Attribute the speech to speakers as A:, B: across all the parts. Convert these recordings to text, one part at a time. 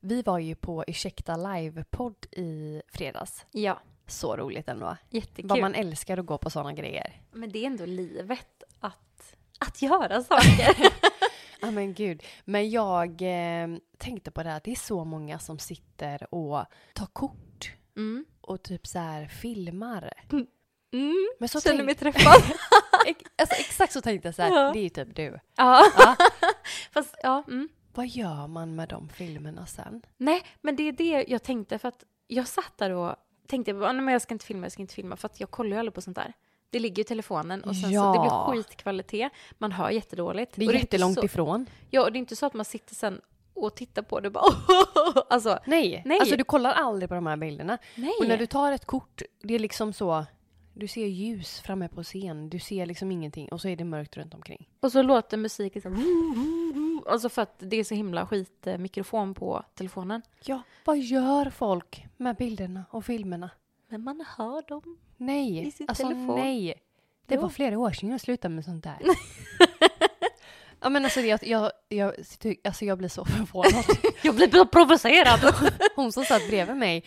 A: Vi var ju på Ursäkta live-podd i fredags.
B: Ja,
A: Så roligt ändå.
B: jättekul.
A: Vad man älskar att gå på sådana grejer.
B: Men det är ändå livet att, att göra saker.
A: Ja men gud. Men jag eh, tänkte på det här att det är så många som sitter och tar kort
B: Mm.
A: och typ så här filmar.
B: Mm.
A: Men så
B: Känner
A: tänk-
B: mig träffad.
A: ex- alltså, exakt så tänkte jag så här,
B: Ja.
A: det är ju typ du.
B: ja.
A: Ja.
B: Fast, ja. Mm.
A: Vad gör man med de filmerna sen?
B: Nej, men det är det jag tänkte för att jag satt där och tänkte bara, nej men jag ska inte filma, jag ska inte filma för att jag kollar ju aldrig på sånt där. Det ligger ju i telefonen och sen så det
A: Ja.
B: blir skitkvalitet, man hör jättedåligt.
A: Det
B: Och
A: är
B: inte
A: jättelångt
B: så,
A: ifrån.
B: Ja, och det är inte så att man sitter sen och tittar på det och bara alltså,
A: Nej.
B: Nej.
A: alltså du kollar aldrig på de här bilderna.
B: nej.
A: Och när du tar ett kort, det är liksom så, du ser ljus framme på scen, du ser liksom ingenting och så är det mörkt runt omkring.
B: Och så låter musiken så här, alltså för att det är så himla skit eh, mikrofon på telefonen.
A: Ja, vad gör folk med bilderna och filmerna?
B: Men man hör dem.
A: Nej,
B: I sin
A: alltså
B: telefon.
A: nej. Det
B: Jo.
A: var flera år sedan jag slutade med sånt där. ja men alltså jag, jag, jag, alltså jag blir så förvånad.
B: Jag blir så provocerad.
A: Hon som satt bredvid mig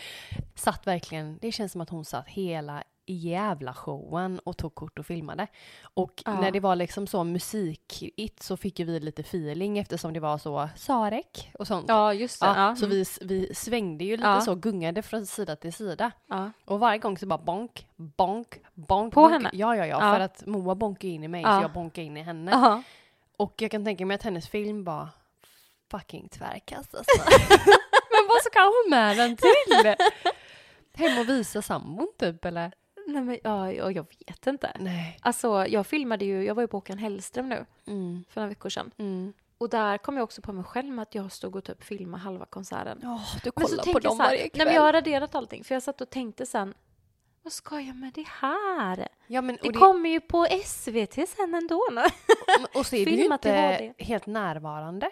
A: satt verkligen, det känns som att hon satt hela jävla showen och tog kort och filmade. Och
B: Ja.
A: när det var liksom så musikigt så fick ju vi lite feeling eftersom det var så Sarek och sånt.
B: ja, just det.
A: Ja,
B: Ja,
A: Så
B: mm.
A: vi, vi svängde ju lite
B: Ja.
A: så, gungade från sida till sida.
B: ja.
A: Och varje gång så bara bonk, bonk, bonk.
B: På
A: bonk.
B: henne?
A: Ja, ja, ja,
B: Ja.
A: För att Moa bonkade in i mig
B: Ja.
A: så jag bonkade in i henne.
B: Ja.
A: Och jag kan tänka mig att hennes film var fucking tvärkast alltså. Men vad ska hon med den till? Hem och visa sambon typ eller?
B: Nej, men ja, ja, jag vet inte.
A: Nej.
B: Alltså, jag filmade ju, jag var ju på Håkan Hellström nu
A: Mm.
B: för några veckor sedan.
A: Mm.
B: Och där kom jag också på mig själv med att jag stod och typ filmade halva konserten.
A: Åh, du
B: Men så
A: kollar på
B: tänkte jag
A: dem
B: så här,
A: varje
B: nej
A: kväll.
B: men jag har raderat allting för jag satt och tänkte sen, vad ska jag med det här?
A: ja, men,
B: Det,
A: och, det,
B: kommer ju på SVT sen ändå. nu.
A: och så är du ju
B: filmat i
A: inte
B: HD.
A: helt närvarande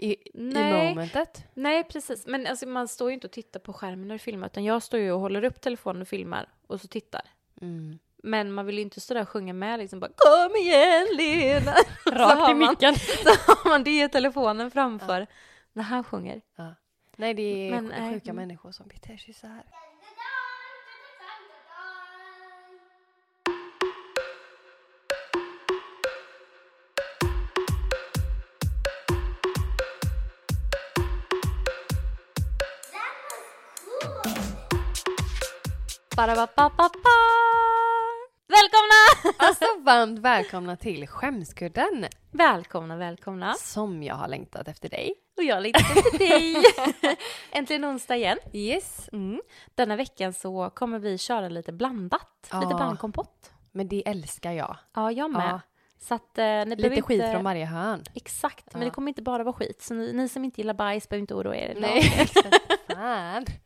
A: i, i
B: Nej.
A: momentet.
B: Nej, precis. Men alltså, man står ju inte och tittar på skärmen när du filmar utan jag står ju och håller upp telefonen och filmar och så tittar.
A: Mm.
B: Men man vill ju inte stå där och sjunga med liksom bara Kom igen Lena! Så
A: Rakt
B: har
A: i
B: man-
A: micken.
B: Så har man det i telefonen framför när han sjunger.
A: Nej det är
B: Men,
A: sj-
B: nej.
A: sjuka
B: Mm.
A: människor som beter sig så här.
B: Ba-da-ba-ba-ba-ba. Välkomna!
A: Alltså varmt välkomna till Skämskudden!
B: Välkomna, välkomna.
A: Som jag har längtat efter dig.
B: Och jag längtar till dig. Äntligen onsdag igen.
A: Yes.
B: Mm. Denna veckan så kommer vi köra lite blandat. Lite
A: Ja.
B: blandkompott.
A: Men det älskar jag.
B: Ja, jag med.
A: Ja.
B: Så att eh, ni behöver
A: Lite
B: inte...
A: skit från varje hörn.
B: Exakt, men
A: Ja.
B: det kommer inte bara vara skit. Så ni, ni som inte gillar bajs behöver inte oroa er. idag.
A: Fan.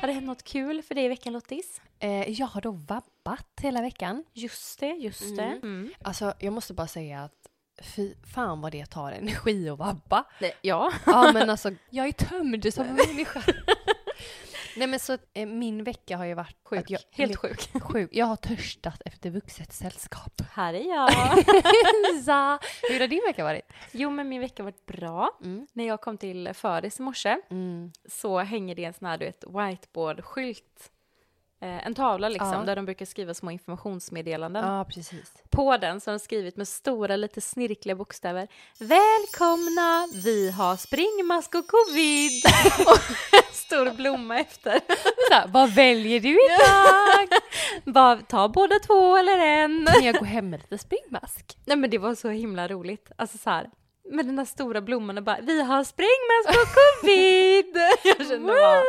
B: Har det hänt något kul för dig i veckan Lottis?
A: Eh, jag har då vabbat hela veckan.
B: Just det, just det.
A: Mm. Alltså jag måste bara säga att fy fan vad det tar energi att vabba.
B: Nej, ja.
A: Ja men alltså jag är tömd som människa. Nej men så eh, min vecka har ju varit
B: Sjuk.
A: att jag,
B: Helt sjuk.
A: sjuk. Jag har törstat efter vuxet sällskap.
B: Här är jag.
A: Så, Hur har din vecka varit?
B: Jo, men min vecka har varit bra.
A: Mm.
B: När jag kom till Föris i morse
A: Mm.
B: så hänger det en sån här, du vet, whiteboard-skylt. Eh, en tavla liksom,
A: Ja.
B: där de brukar skriva små informationsmeddelanden.
A: Ja precis.
B: På den så har de skrivit med stora, lite snirkliga bokstäver. Välkomna! Vi har springmask och covid! och en stor blomma efter.
A: Så här, vad väljer du idag?
B: Bara ta båda två eller en.
A: Kan jag gå hem med lite springmask?
B: Nej men det var så himla roligt. Alltså så här, med den där stora blomman och bara vi har springmask och covid! Jag kände bara...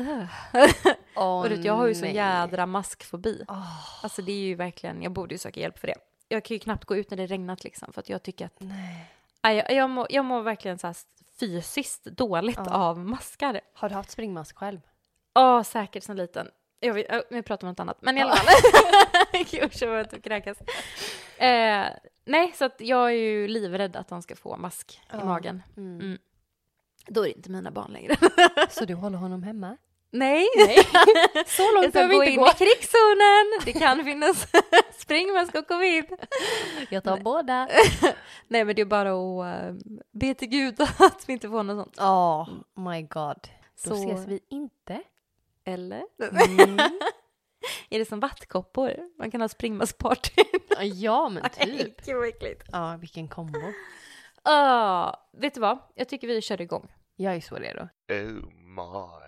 B: "Ugh."
A: Åh,
B: Och du vet, jag har ju sån
A: nej.
B: jädra maskfobi.
A: Åh,
B: Alltså det är ju verkligen, jag borde ju söka hjälp för det. Jag kan ju knappt gå ut när det regnat liksom för att jag tycker att
A: nej.
B: aj, jag, jag, mår, jag mår verkligen så här fysiskt dåligt
A: Ja.
B: av maskar.
A: Har du haft springmask själv?
B: Ja, säkert som liten. Jag vet, ö, nu pratar vi om något annat, men i alla fall. Usch, jag börjar typ kräkas. Eh, nej, så att jag är ju livrädd att de ska få mask i magen.
A: Mm.
B: Mm. Då är det inte mina barn längre.
A: Så du håller honom hemma?
B: Nej,
A: Så
B: jag
A: långt
B: ska
A: behöver
B: gå
A: vi inte
B: in
A: gå.
B: i krigszonen. Det kan finnas spring med skog och vild.
A: Jag tar båda.
B: Nej, men det är bara att uh, be till gud att vi inte får något sånt.
A: Ja, my god. Då
B: Så-
A: ses vi inte.
B: Eller?
A: Mm.
B: Är det som vattkoppor? Man kan ha springmassparty.
A: Ja, men typ.
B: Gud vad äckligt.
A: Ja, vilken kombo.
B: Ah, vet du vad? Jag tycker vi kör igång.
A: Jag är så redo.
C: Oh my.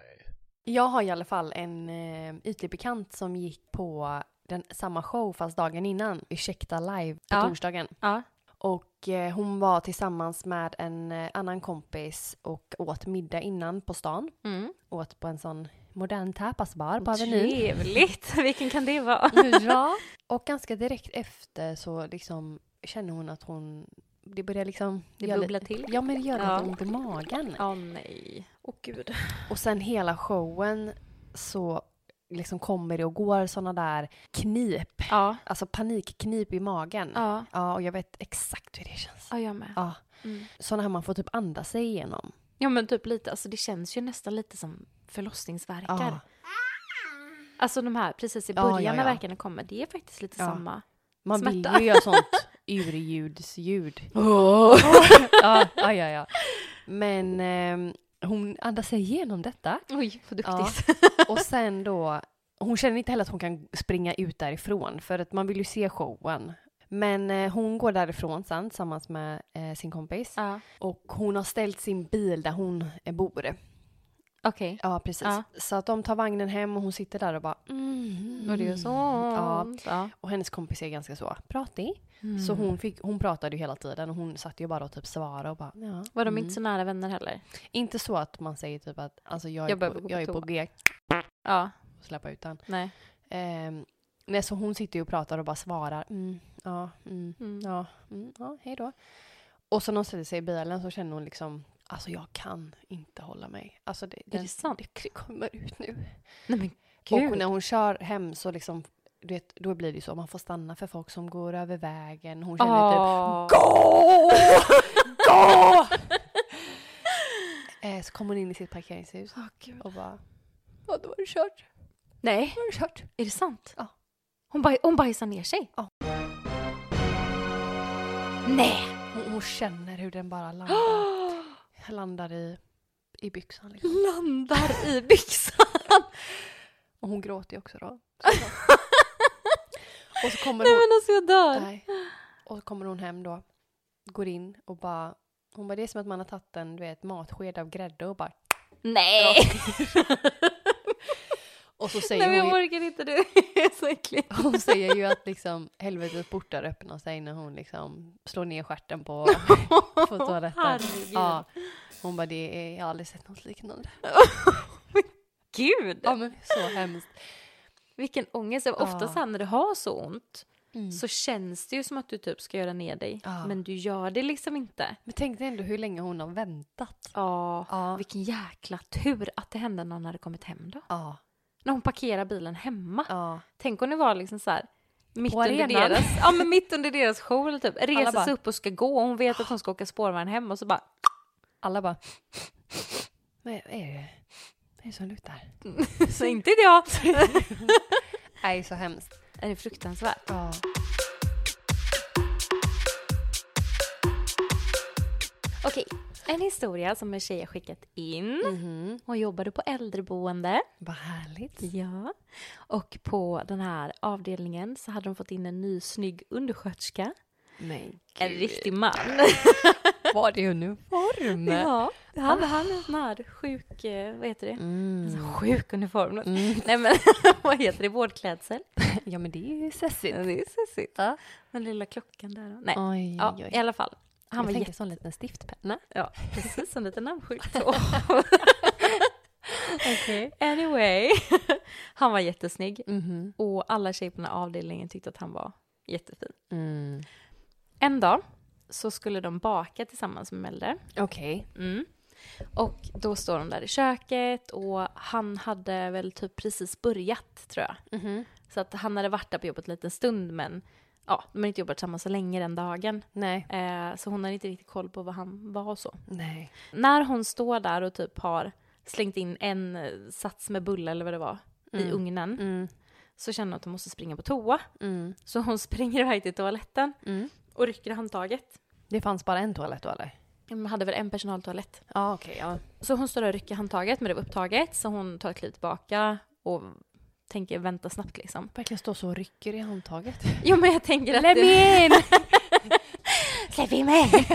A: Jag har i alla fall en eh, ytlig bekant som gick på den, samma show fast dagen innan. Ursäkta live på
B: Ja.
A: torsdagen.
B: Ja.
A: Och eh, hon var tillsammans med en eh, annan kompis och åt middag innan på stan.
B: Mm.
A: Åt på en sån modern tapasbar på Avenyn.
B: Trevligt. Vilken kan det vara?
A: Ja. Och ganska direkt efter så liksom känner hon att hon, det börjar liksom...
B: Det
A: göra
B: bubblar
A: lite-
B: till.
A: Ja men det gör
B: Ja.
A: lite ont i magen.
B: Åh nej. Åh gud.
A: Och sen hela showen så liksom kommer det och går såna där knip,
B: Ja.
A: alltså panikknip i magen. Ja.
B: Ja.
A: och jag vet exakt hur det känns.
B: Ja, jag med.
A: Ja.
B: Mm.
A: Såna här man får typ andas sig igenom.
B: Ja, men typ lite. Alltså det känns ju nästan lite som förlossningsvärkar.
A: Ja.
B: Alltså de här precis i
A: Ja,
B: början
A: ja,
B: när
A: ja.
B: värkarna kommer. Det är faktiskt lite
A: Ja.
B: samma.
A: Man
B: Smärta.
A: vill ju göra sånt urljudsljud. ja, ja, ja, ja. Men ehm, hon andas sig igenom detta.
B: Oj, vad
A: Ja.
B: duktigt.
A: Och sen då, hon känner inte heller att hon kan springa ut därifrån för att man vill ju se showen. Men eh, hon går därifrån sen tillsammans med eh, sin kompis.
B: Ja.
A: Och hon har ställt sin bil där hon eh, bor.
B: Okej.
A: Ja, precis.
B: Ja.
A: Så att de tar vagnen hem och hon sitter där och bara mm.
B: Och det är så.
A: Ja.
B: ja.
A: Och hennes kompis är ganska så pratig.
B: Mm.
A: Så hon, fick, hon pratade ju hela tiden och hon satt ju bara och typ svarade och bara ja.
B: Var de
A: mm.
B: inte så nära vänner heller?
A: Inte så att man säger typ att alltså jag,
B: Jag
A: är,
B: behöver
A: på,
B: gå på
A: jag är på
B: toa.
A: G,
B: Ja.
A: släppa ut den.
B: Nej.
A: Ehm, nej, så hon sitter ju och pratar och bara svarar. Mm, ja, mm,
B: Mm.
A: ja, mm, ja, hej då. Och så när hon sätter sig i bilen så känner hon liksom, alltså jag kan inte hålla mig. Alltså det,
B: det sant?
A: det kommer ut nu.
B: Nej men
A: Och
B: gud.
A: när hon kör hem så liksom, du vet, då blir det ju så, man får stanna för folk som går över vägen. Hon känner typ,
B: Åh.
A: gå! gå! Eh, så kommer hon in i sitt parkeringshus
B: Åh, gud.
A: och bara, ja då var det kört,
B: Nej,
A: då var det kört.
B: är det sant?
A: Ja.
B: Hon, baj, hon bajsar ner sig?
A: Ja.
B: Nej!
A: Hon, hon känner hur den bara landar. Jag landar i, i byxan. Liksom.
B: Landar i byxan!
A: Och hon gråter ju också då. och så kommer
B: Nej
A: hon...
B: men alltså jag dör!
A: Nej. Och så kommer hon hem då. Går in och bara... Hon bara, det är som att man har tagit en du vet, matsked av grädde och bara... Eh.
B: Nej!
A: Och så
B: Nej
A: säger
B: men jag
A: hon,
B: orkar inte, det är så äckligt.
A: ju, hon säger ju att liksom, helvetets portar öppnar sig när hon liksom slår ner stjärten på, på toaletten.
B: Herregud.
A: Ja. Hon bara, det är, jag har aldrig sett något liknande.
B: Gud!
A: Ja men så hemskt.
B: Vilken ångest. Ofta
A: Ja.
B: så här när du har så ont
A: Mm.
B: så känns det ju som att du typ ska göra ner dig.
A: Ja.
B: Men du gör det liksom inte.
A: Men tänk dig ändå hur länge hon har väntat.
B: Ja.
A: Ja.
B: Vilken jäkla tur att det hände när hon hade kommit hem då.
A: Ja.
B: När hon parkerar bilen hemma.
A: ja.
B: Tänk om det var liksom så här mitt
A: På
B: under,
A: arenan.
B: deras, ja, men mitt under deras show eller typ. Reser
A: bara-
B: sig upp och ska gå och hon vet att hon ska åka spårvagn hem och så bara
A: Alla bara... Vad är det? Vad är det som luktar?
B: så inte jag.
A: Nej, så hemskt.
B: Det är fruktansvärt.
A: Ja.
B: Okej, en historia som en tjej har skickat in.
A: Mm. Mm-hmm.
B: Hon jobbade på äldreboende.
A: Vad härligt.
B: Ja. Och på den här avdelningen så hade de fått in en ny snygg undersköterska.
A: Men
B: En riktig man.
A: Var det uniform?
B: Ja, han, han är en sån här sjuk, eh, vad heter det? En sån
A: Mm.
B: sjuk uniform.
A: Mm.
B: Nej men vad heter det? Vårdklädsel?
A: Ja, men det är ju sessigt.
B: Det är sessigt. Ja. Den lilla klockan där. då. Nej,
A: Oj,
B: ja,
A: oj,
B: i alla fall. Han
A: Jag
B: var
A: tänker
B: jätte...
A: sån liten stiftpenna.
B: Ja, precis som lite namnskylt. anyway. Han var jättesnygg
A: Mhm.
B: och alla tjejer på den här avdelningen tyckte att han var jättefin.
A: Mm.
B: En dag så skulle de baka tillsammans med Melder.
A: Okej.
B: Mm. Och då står de där i köket och han hade väl typ precis börjat tror jag.
A: Mhm.
B: Så att han hade varit där på jobbet en liten stund men ja, de hade inte jobbat tillsammans så länge den dagen.
A: Nej.
B: Eh, så hon hade inte riktigt koll på vad han var och så.
A: Nej.
B: När hon står där och typ har slängt in en eh, sats med bulle eller vad det var i
A: Mm.
B: ugnen.
A: Mm.
B: Så känner hon att hon måste springa på toa.
A: Mm.
B: Så hon springer iväg till toaletten
A: Mm.
B: och rycker i handtaget.
A: Det fanns bara en toalett då eller?
B: De hade väl en personaltoalett.
A: Ja okej, ja.
B: Så hon står där och rycker i handtaget men det var upptaget så hon tar ett kliv tillbaka och tänker vänta snabbt liksom.
A: Verkligen står så och rycker i handtaget.
B: Jo men jag tänker att... det-
A: in!
B: Släpp in mig!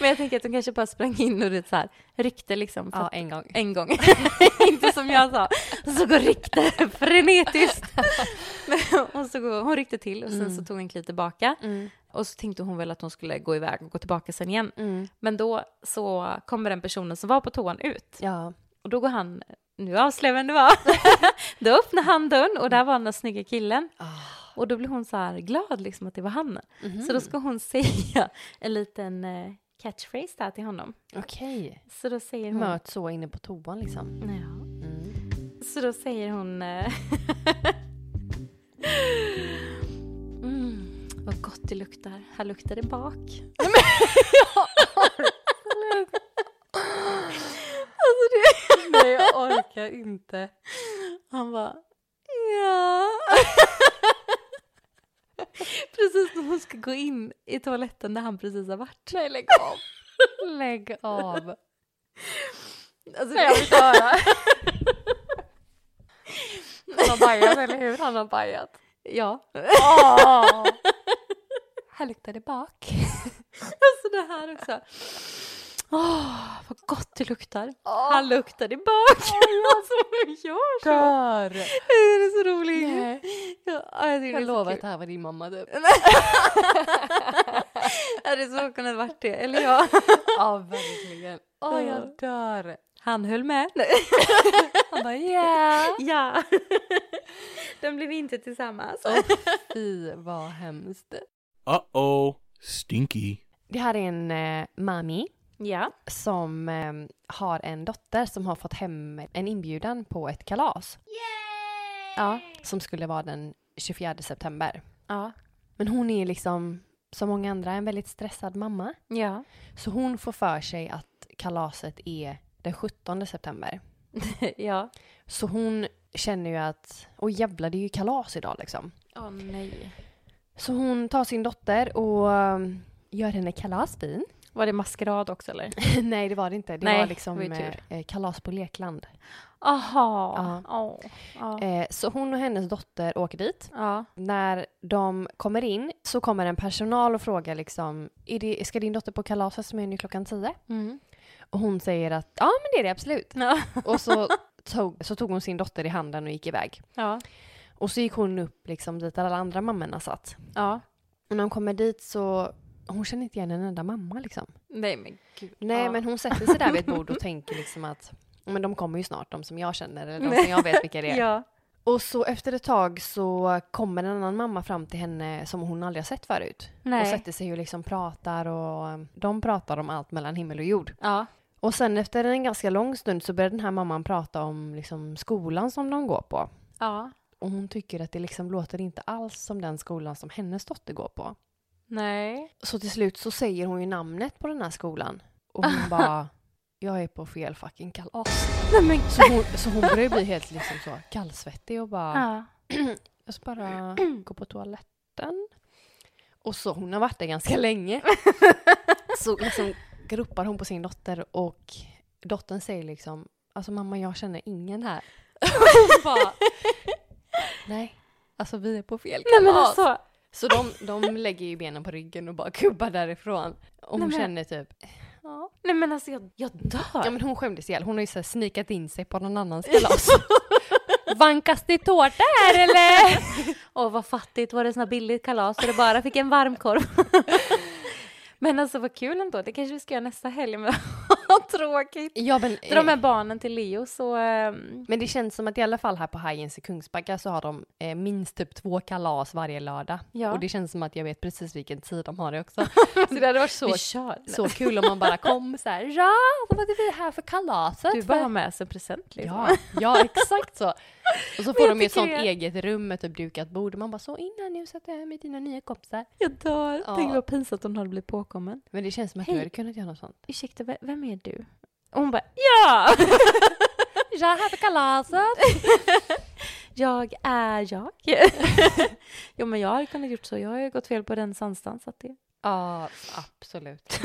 B: men jag tänker att hon kanske bara sprang in och det så här, ryckte liksom. För
A: Ja,
B: att-
A: en gång.
B: en gång. Inte som jag sa. Så går ryckte frenetiskt. Men, och så går, hon ryckte till och sen så tog hon en kliv tillbaka.
A: Mm.
B: Och så tänkte hon väl att hon skulle gå iväg och gå tillbaka sen igen.
A: Mm.
B: Men då så kommer den personen som var på toan ut.
A: Ja.
B: Och då går han, nu avslöjar vem det var. då öppnar han dörren och där var den där snygga
A: Mm.
B: killen.
A: Ah.
B: Och då blir hon så här glad liksom att det var han.
A: Mhm.
B: Så
A: Mm.
B: då ska hon säga en liten eh, catchphrase där till honom.
A: Okej.
B: Så då säger hon...
A: Möts så inne på toan liksom.
B: Ja.
A: Mm.
B: Så då säger hon... eh, mm, vad gott det luktar. Här luktar det bak. alltså det...
A: Nej jag orkar inte.
B: Han bara... Ja. precis när hon ska gå in i toaletten där han precis har varit. Nej, lägg av.
A: Lägg av.
B: Alltså,
A: Nej, jag vill inte höra. Han har bajat eller hur? Han har bajat.
B: Ja.
A: Oh. Här luktar det bak.
B: Alltså det här också. Åh, vad gott det luktar.
A: Åh.
B: Han luktar i bak. alltså vad gör så?
A: Dör!
B: Det är så roligt.
A: Nej.
B: Ja, jag tycker det är
A: Jag
B: så
A: lovar
B: kul.
A: att det här var din mamma typ.
B: Är det så kunnat varit det? Eller jag?
A: Ja verkligen. Åh jag dör.
B: Han höll med.
A: Han bara yeah.
B: Ja. De blev inte tillsammans.
A: Fy vad hemskt.
C: Uh-oh, stinky.
A: Det här är en eh, mami
B: Ja.
A: som eh, har en dotter som har fått hem en inbjudan på ett kalas. Ja, som skulle vara den 24 september.
B: Ja.
A: Men hon är liksom, som många andra, en väldigt stressad mamma.
B: Ja.
A: Så hon får för sig att kalaset är den 17 september.
B: Ja.
A: Så hon känner ju att, åh jävlar det är ju kalas idag liksom.
B: Åh nej.
A: Så hon tar sin dotter och um, gör henne kalasvin.
B: Var det maskerad också eller?
A: Nej det var det inte, det
B: Nej,
A: var liksom
B: det var ju
A: eh, eh, kalas på lekland.
B: Aha. Ja. Ja.
A: Eh, så hon och hennes dotter åker dit.
B: Ja.
A: När de kommer in så kommer en personal och frågar liksom, är det, ska din dotter på kalaset som är nu klockan 10?
B: Mm.
A: Och hon säger att ja men det är det absolut.
B: Ja.
A: Och så tog, så tog hon sin dotter i handen och gick iväg.
B: Ja.
A: Och så gick hon upp liksom dit där alla andra mammorna satt.
B: Ja.
A: Och när hon kommer dit så, hon känner inte igen en enda mamma liksom.
B: Nej men gud.
A: Nej
B: ja.
A: men hon sätter sig där vid ett bord och tänker liksom att men de kommer ju snart, de som jag känner eller de som jag vet vilka det är.
B: Ja.
A: Och så efter ett tag så kommer en annan mamma fram till henne som hon aldrig har sett förut. Och
B: Nej.
A: sätter sig och liksom pratar och eh, de pratar om allt mellan himmel och jord.
B: Ja.
A: Och sen efter en ganska lång stund så börjar den här mamman prata om liksom skolan som de går på.
B: Ja.
A: Och hon tycker att det liksom låter inte alls som den skolan som hennes dotter går på.
B: Nej.
A: Så till slut så säger hon ju namnet på den här skolan. Och hon bara, jag är på fel fucking kalas.
B: Nej men
A: Så hon, så hon börjar ju bli helt liksom så kallsvettig och bara,
B: Ja.
A: jag ska bara gå på toaletten. Och så hon har varit där ganska länge. Så liksom ropar hon på sin dotter och dottern säger liksom, alltså mamma jag känner ingen här. Hon bara, nej, alltså vi är på fel kalas.
B: Nej men alltså.
A: Så de, de lägger ju benen på ryggen och bara kubbar därifrån. Och hon
B: Nej, men-
A: känner typ...
B: Ja. Nej men alltså jag, jag dör.
A: Ja men hon skämdes ihjäl. Hon har ju så här snikat in sig på någon annans kalas. Vankas det tårta här eller?
B: Åh vad fattigt, var det såna billigt kalas så det bara fick en varmkorv. men alltså vad kul ändå, det kanske vi ska göra nästa helg. Men vad tråkigt.
A: ja men...
B: Dra med barnen till Leo så... ehm,
A: Men det känns som att i alla fall här på Hajens i Kungsbacka så har de eh, minst typ två kalas varje lördag.
B: Ja.
A: Och det känns som att jag vet precis vilken tid de har det också. så Alltså, det hade varit så,
B: vi kör.
A: så kul om man bara kom så här. Ja, vad är vi här för kalaset?
B: Du bara har med oss en present liksom.
A: Ja, ja exakt så. Och så får
B: jag
A: de ju ett
B: tycker
A: sånt
B: det.
A: eget rum med typ dukat bord. Och man bara så innan nu sätter jag med dina nya kompisar.
B: Jag dör.
A: Ja.
B: Tänk vad pinsamt om hon hade blivit påkommen.
A: Men det känns som att
B: Hej.
A: du hade kunnat göra något sånt.
B: Ursäkta, ve- vem är du? Och hon bara ja! jag är här på kalaset. jag är jag. jo men jag hade kunnat gjort så, jag har ju gått fel på den sanstans. så att det...
A: Ja, absolut.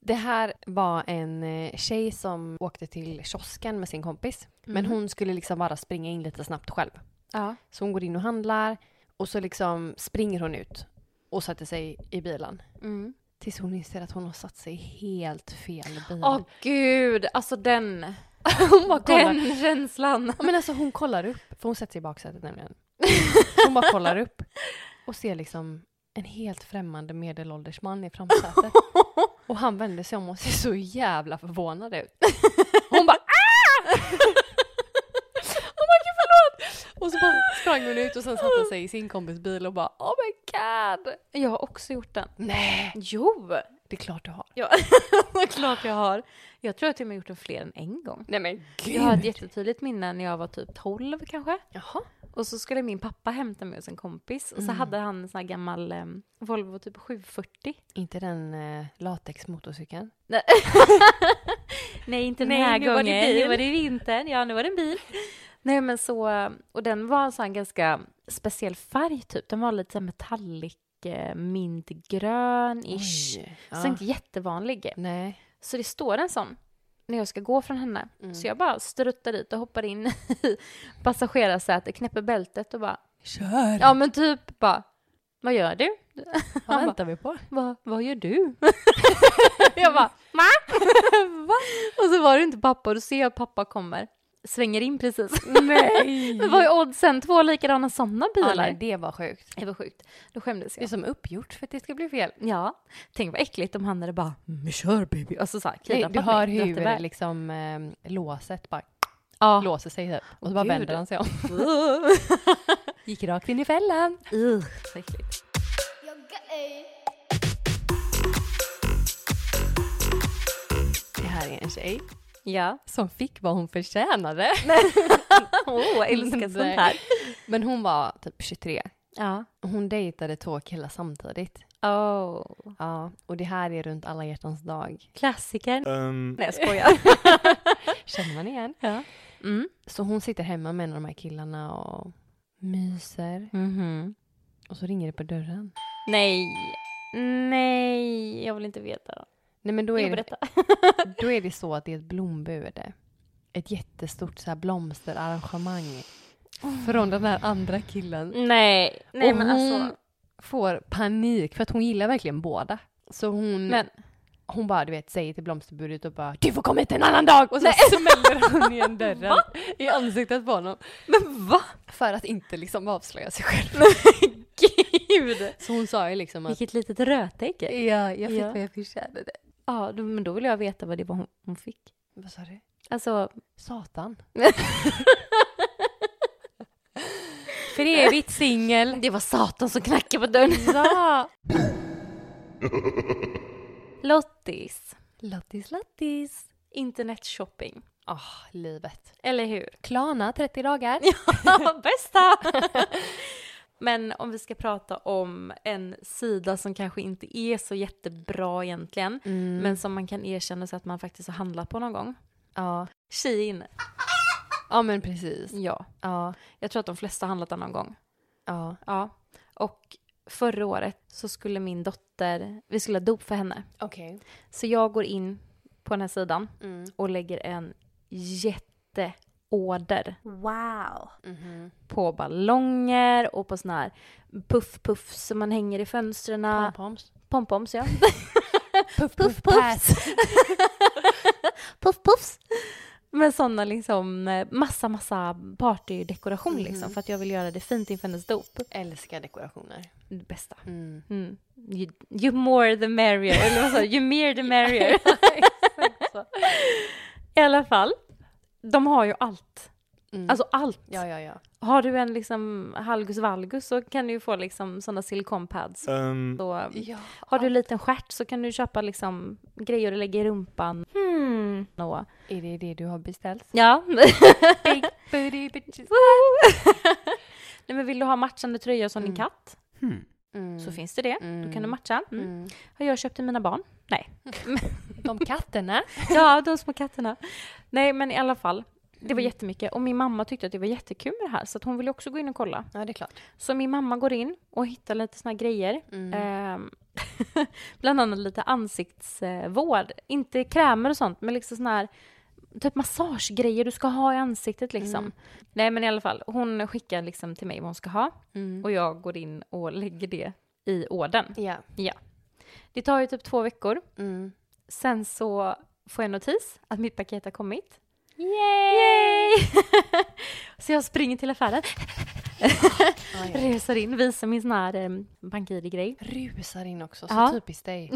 A: Det här var en eh, tjej som åkte till kiosken med sin kompis. Men
B: Mhm.
A: hon skulle liksom bara springa in lite snabbt själv.
B: Ja.
A: Så hon går in och handlar och så liksom springer hon ut och sätter sig i bilen.
B: Mm.
A: Tills hon inser att hon har satt sig i helt fel bil.
B: Åh gud, alltså den,
A: hon bara kollar.
B: den känslan.
A: Ja, men alltså hon kollar upp, för hon sätter sig i baksätet nämligen. Hon bara kollar upp och ser liksom en helt främmande medelålders man i framsätet. Och han vänder sig om och ser så jävla förvånad ut. Hon bara "Ah!"
B: Oh
A: Hon bara gud förlåt! Och så bara sprang hon ut och sen satte hon sig i sin kompis bil och bara oh my god!
B: Jag har också gjort den.
A: Nej,
B: Jo,
A: det är klart du har.
B: klart jag har. Jag tror att jag till och med gjort den fler än en gång.
A: Nej men gud!
B: Jag har ett jättetydligt minne när jag var typ 12 kanske.
A: Jaha.
B: Och så skulle min pappa hämta mig hos en kompis. Och så hade han en sån här gammal eh, Volvo typ 740.
A: Inte den eh, latexmotorcykeln?
B: Nej, inte den
A: Nej,
B: här
A: nu var det
B: gången.
A: bil.
B: nu var det vintern. Ja, nu var det en bil. Nej, men så... Och den var en sån ganska speciell färg, typ. Den var lite så här metallic, eh, mintgrön-ish.
A: Oj.
B: Så inte jättevanlig.
A: Nej.
B: Så det står en sån när jag ska gå från henne. Så jag bara struttar dit och hoppar in i passagerarsätet, knäpper bältet och bara...
A: Kör!
B: Ja, men typ bara... Vad gör du?
A: Vad
B: Han
A: väntar vi på?
B: Va, vad gör du? jag bara, ma? Va? Och så var det inte pappa och då ser jag att pappa kommer. Svänger in precis.
A: Nej!
B: Det var ju oddsen, två likadana sådana
A: ja,
B: bilar.
A: nej, det var sjukt.
B: det var sjukt. Då skämdes
A: Det är
B: jag.
A: som uppgjort för att det ska bli fel.
B: Ja, tänk vad äckligt om han hade bara “men kör baby” och så såhär
A: Nej,
B: kidnappat
A: du hör
B: mig, dragit
A: hur
B: iväg.
A: liksom, eh, låset bara
B: Ja.
A: låser sig typ. Och så bara
B: Gud.
A: vänder han sig om. Gick rakt in i fällan.
B: Ugh, så äckligt.
A: Det här är en tjej
B: Ja.
A: som fick vad hon förtjänade.
B: Åh, jag älskar sånt här.
A: Men hon var typ 23.
B: Ja.
A: Och Hon dejtade två killar samtidigt.
B: Oh.
A: Ja, och det här är runt alla hjärtans dag.
B: Klassiker.
C: Um,
B: Nej, jag skojar.
A: Känner man igen?
B: ja. Mm.
A: Så hon sitter hemma med en av de här killarna och myser.
B: Mhm.
A: Och så ringer det på dörren.
B: Nej. Nej, jag vill inte veta.
A: Nej men då
B: Jo,
A: är, det,
B: berätta.
A: då är det så att det är ett blombud. Ett jättestort så här blomsterarrangemang. Från den här andra killen.
B: Nej, nej
A: och
B: men
A: hon
B: alltså.
A: får panik för att hon gillar verkligen båda. Så hon,
B: Men,
A: hon bara du vet säger till blomsterbudet och bara du får komma hit en annan dag! Och så smäller hon igen dörren i ansiktet på honom.
B: men va?
A: För att inte liksom avslöja sig själv.
B: Gud!
A: Så hon sa ju liksom att
B: Vilket litet rötägg.
A: ja, jag
B: Ja.
A: jag förtjänade.
B: Ja, då- men då vill jag veta vad det var hon, hon fick.
A: Vad sa du?
B: Alltså,
A: Satan. För evigt singel.
B: det var Satan som knackade på dörren.
A: Ja.
B: Lottis.
A: Lottis, lottis.
B: Internetshopping.
A: Ah, livet.
B: Eller hur?
A: Klarna 30 dagar.
B: Bästa! men om vi ska prata om en sida som kanske inte är så jättebra egentligen,
A: Mm.
B: men som man kan erkänna så att man faktiskt har handlat på någon gång.
A: Ja.
B: Shein.
A: ja, men precis.
B: Ja.
A: Ja,
B: Jag tror att de flesta har handlat där någon gång.
A: ja.
B: Ja. Och förra året så skulle min dotter, vi skulle ha dop för henne.
A: Okej.
B: Så jag går in på den här sidan
A: Mm.
B: och lägger en jätteorder
A: mhm.
B: på ballonger och på sån här puff-puff som man hänger i fönstren.
A: Pompoms.
B: Pompoms ja.
A: Puff,
B: puff,
A: pass.
B: Puff-puffs. Med såna liksom eh, massa, massa partydekoration liksom för att jag vill göra det fint inför hennes dop.
A: Älskar dekorationer.
B: Det bästa.
A: Mm.
B: Mm. You, you more the merrier, eller vad sa du? You mer the merrier. I alla fall, de har ju allt.
A: Mm.
B: Alltså allt.
A: Ja, ja, ja.
B: Har du en liksom halgus valgus så kan du ju få liksom sådana silikonpads.
C: um,
B: Så,
A: ja.
B: har du en liten stjärt så kan du köpa liksom grejer att lägga i rumpan. Hmm. Och,
A: Är det det du har beställt?
B: ja.
A: Big booty bitches.
B: Nej men vill du ha matchande tröja som din katt
A: Mm.
B: så finns det det. Då kan du matcha. Mm.
A: Mm.
B: Har jag köpt till mina barn. Nej.
A: De katterna.
B: Ja, de små katterna. Nej, men i alla fall. Det var jättemycket. Och min mamma tyckte att det var jättekul med det här, så att hon ville också gå in och kolla.
A: Ja, det är klart.
B: Så min mamma går in och hittar lite såna här grejer.
A: Mm. Äh.
B: Ehm, bland annat lite ansiktsvård. Inte krämer och sånt, men liksom såna här typ massagegrejer du ska ha i ansiktet liksom. Nej, men i alla fall. Hon skickar liksom till mig vad hon ska ha och jag går in och lägger det i orden.
A: Mm. Ja.
B: Ja. Det tar ju typ två veckor.
A: Mm.
B: Sen så får jag notis att mitt paket har kommit.
A: Yay!
B: Så jag springer till affären, reser in, visar min sån här eh, bank-id-grej.
A: Rusar in också, så
B: Ja.
A: typiskt dig.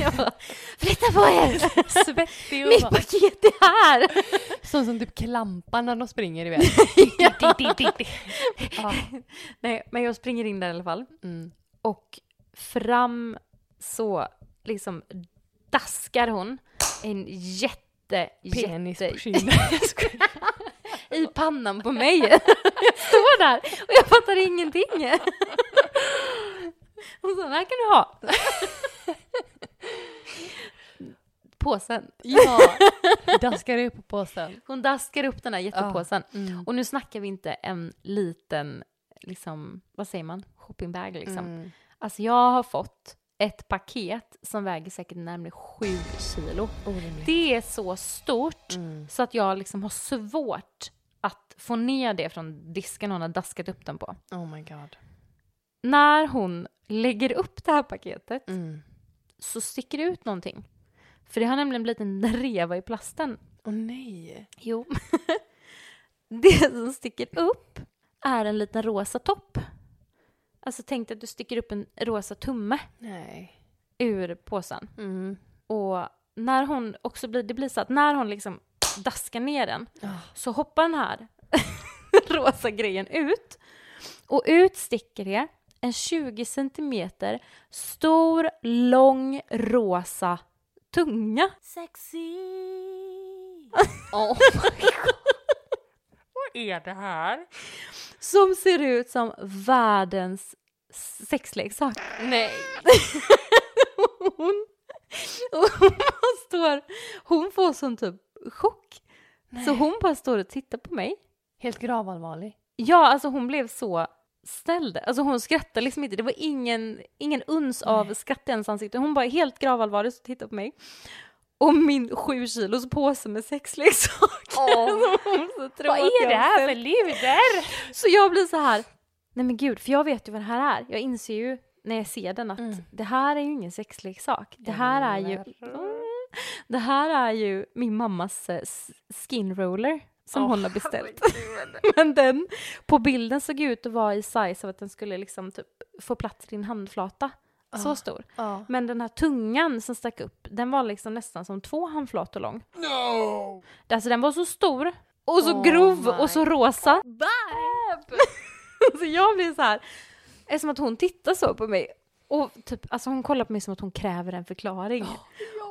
B: Jag bara, Flytta på er!
A: Svettig
B: Mitt
A: och bara,
B: paket är här!
A: sån som typ klampar när de springer iväg. ja.
B: Nej, men jag springer in där i alla fall.
A: Mm.
B: Och fram så liksom daskar hon en jätte,
A: Penis
B: jätte,
A: på kinden.
B: i pannan på mig. Jag står där och jag fattar ingenting. Och så här kan du ha. Påsen.
A: ja. Daskar upp på påsen.
B: Hon daskar upp den här jättepåsen.
A: Mm,
B: Och nu snackar vi inte en liten, liksom, vad säger man, shoppingbag liksom.
A: Mm.
B: Alltså jag har fått ett paket som väger säkert närmare sju kilo.
A: Orimligt.
B: Det är så stort
A: Mm.
B: så att jag liksom har svårt att få ner det från disken hon har daskat upp den på.
A: Oh my god.
B: När hon lägger upp det här paketet
A: Mm.
B: så sticker det ut någonting. För det har nämligen blivit en reva i plasten.
A: Åh nej.
B: Jo. det som sticker upp är en liten rosa topp. Alltså tänk dig att du sticker upp en rosa tumme
A: Nej.
B: ur påsen.
A: Mm.
B: Och när hon också blir, det blir så att när hon liksom daskar ner den
A: Ah.
B: så hoppar den här rosa grejen ut. Och ut sticker det en 20 centimeter stor, lång, rosa tunga.
A: Oh.
B: Som ser ut som världens sexleksak.
A: nej.
B: Hon, och hon, bara står, hon får sån typ chock. Så hon bara står och tittar på mig.
A: Helt gravallvarlig.
B: Ja, alltså hon blev så ställd. Alltså hon skrattade liksom inte. Det var ingen, ingen uns av skratt i hennes ansikte. Hon bara helt gravallvarlig och tittade på mig. Och min sju kilos påse med sexleksaker. som hon så tror att jag har ställt.
A: luder?
B: Så jag blir så här, nej men gud, för jag vet ju vad det här är. Jag inser ju när jag ser den att
A: Mm.
B: det här är ju ingen sexleksak. Det här är ju, Mm.
A: Eller?
B: det här är ju min mammas eh, s- skin roller som hon har beställt. men den på bilden såg ut att vara i size av att den skulle liksom typ få plats i din handflata. Så stor.
A: Ja.
B: Men den här tungan som stack upp, den var liksom nästan som två handflator lång.
C: No!
B: Alltså den var så stor och så
A: Oh
B: grov
A: my
B: och så rosa. så jag blir så här, eftersom att hon tittar så på mig och typ, alltså hon kollar på mig som att hon kräver en förklaring.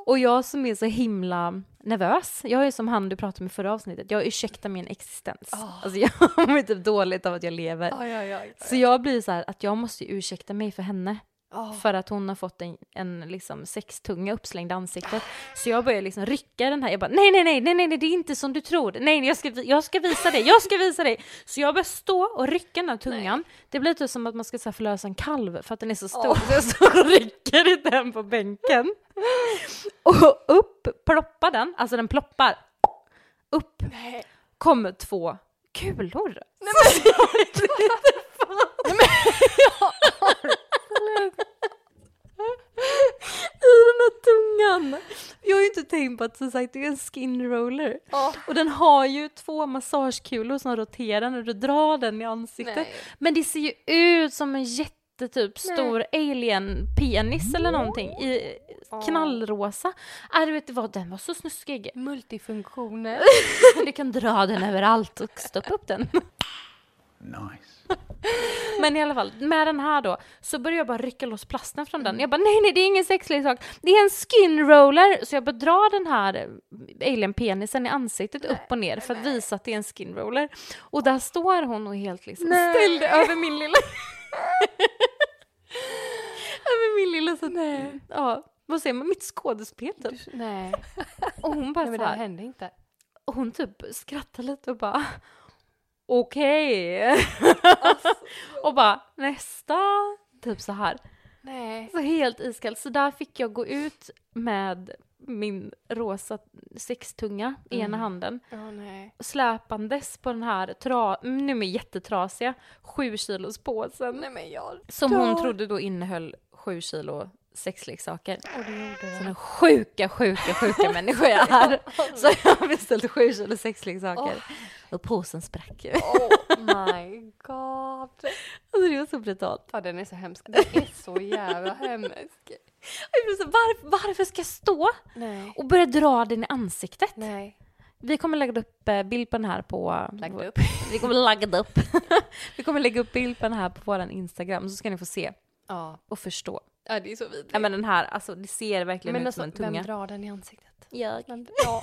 B: Och jag som är så himla nervös, jag är som han du pratade med i förra avsnittet, jag ursäktar min existens. Alltså jag mår typ dåligt av att jag lever.
A: Aj, aj, aj.
B: Så jag blir så här att jag måste ju ursäkta mig för henne.
A: Oh.
B: För att hon har fått en, en liksom sextunga uppslängd i ansiktet. Så jag börjar liksom rycka den här. Jag bara nej, nej, nej, nej, nej, nej, det är inte som du tror. Nej, nej, jag ska, jag ska visa dig, jag ska visa dig. Så jag börjar stå och rycka den här tungan. Det blir typ som att man ska så här, förlösa en kalv för att den är så stor. Så jag står och rycker i den på bänken. Och upp ploppar den, alltså den ploppar. Upp kommer två kulor. Nej, i den här tungan. Jag har ju inte tänkt på att som sagt det är en skin roller. Och den har ju två massagekulor som roterar när du drar den i ansiktet.
A: Nej.
B: Men det ser ju ut som en jättetyp stor alien penis eller någonting i knallrosa. Äh, du vet vad, den var så snuskig.
A: Multifunktioner.
B: Du kan dra den överallt och stoppa upp den.
C: Nice.
B: Men i alla fall, med den här då, så började jag bara rycka loss plasten från den. Jag bara, nej, nej, det är ingen sexleksak. Det är en skin roller. Så jag bara drar den här eh, alien-penisen i ansiktet upp och ner för att visa att det är en skin roller. Och där står hon och är helt liksom ställd över min lilla... över min lilla sån... Ja, Vad säger man? Mitt skådespel typ.
A: Du, nej.
B: Och hon bara
A: nej, men
B: så
A: det här
B: här,
A: hände inte.
B: och hon typ skrattar lite och bara okej. och bara nästa. Typ så här.
A: Nej.
B: Så helt iskallt. Så där fick jag gå ut med min rosa sextunga i ena
A: Mm.
B: handen
A: Åh nej.
B: släpandes på den här, tra- nu med jättetrasiga, sju kilos påsen.
A: Nej men jag
B: Som
A: dör.
B: hon trodde då innehöll sju kilo sexleksaker.
A: Och det gjorde
B: Så
A: det.
B: den sjuka, sjuka, sjuka människa jag är. Så jag har beställt sju kilo sexleksaker. Och påsen sprack ju.
A: Oh my god.
B: Alltså det var så brutalt.
A: Ja, den är så hemsk. Den är så jävla hemsk.
B: Jag blev så, varför, varför ska jag stå
A: Nej.
B: och börja dra den i ansiktet?
A: Nej.
B: Vi kommer lägga upp eh, bild på den här på...
A: Lagd upp.
B: Vi kommer lagga upp. Vi kommer lägga upp bild på den här på vår Instagram så ska ni få se
A: Ja.
B: och förstå.
A: ja, det är så vidrigt.
B: Nej men den här, alltså det ser verkligen
A: Men
B: ut
A: alltså,
B: som en tunga.
A: vem drar den i ansiktet?
B: Jag.
A: Vem, ja.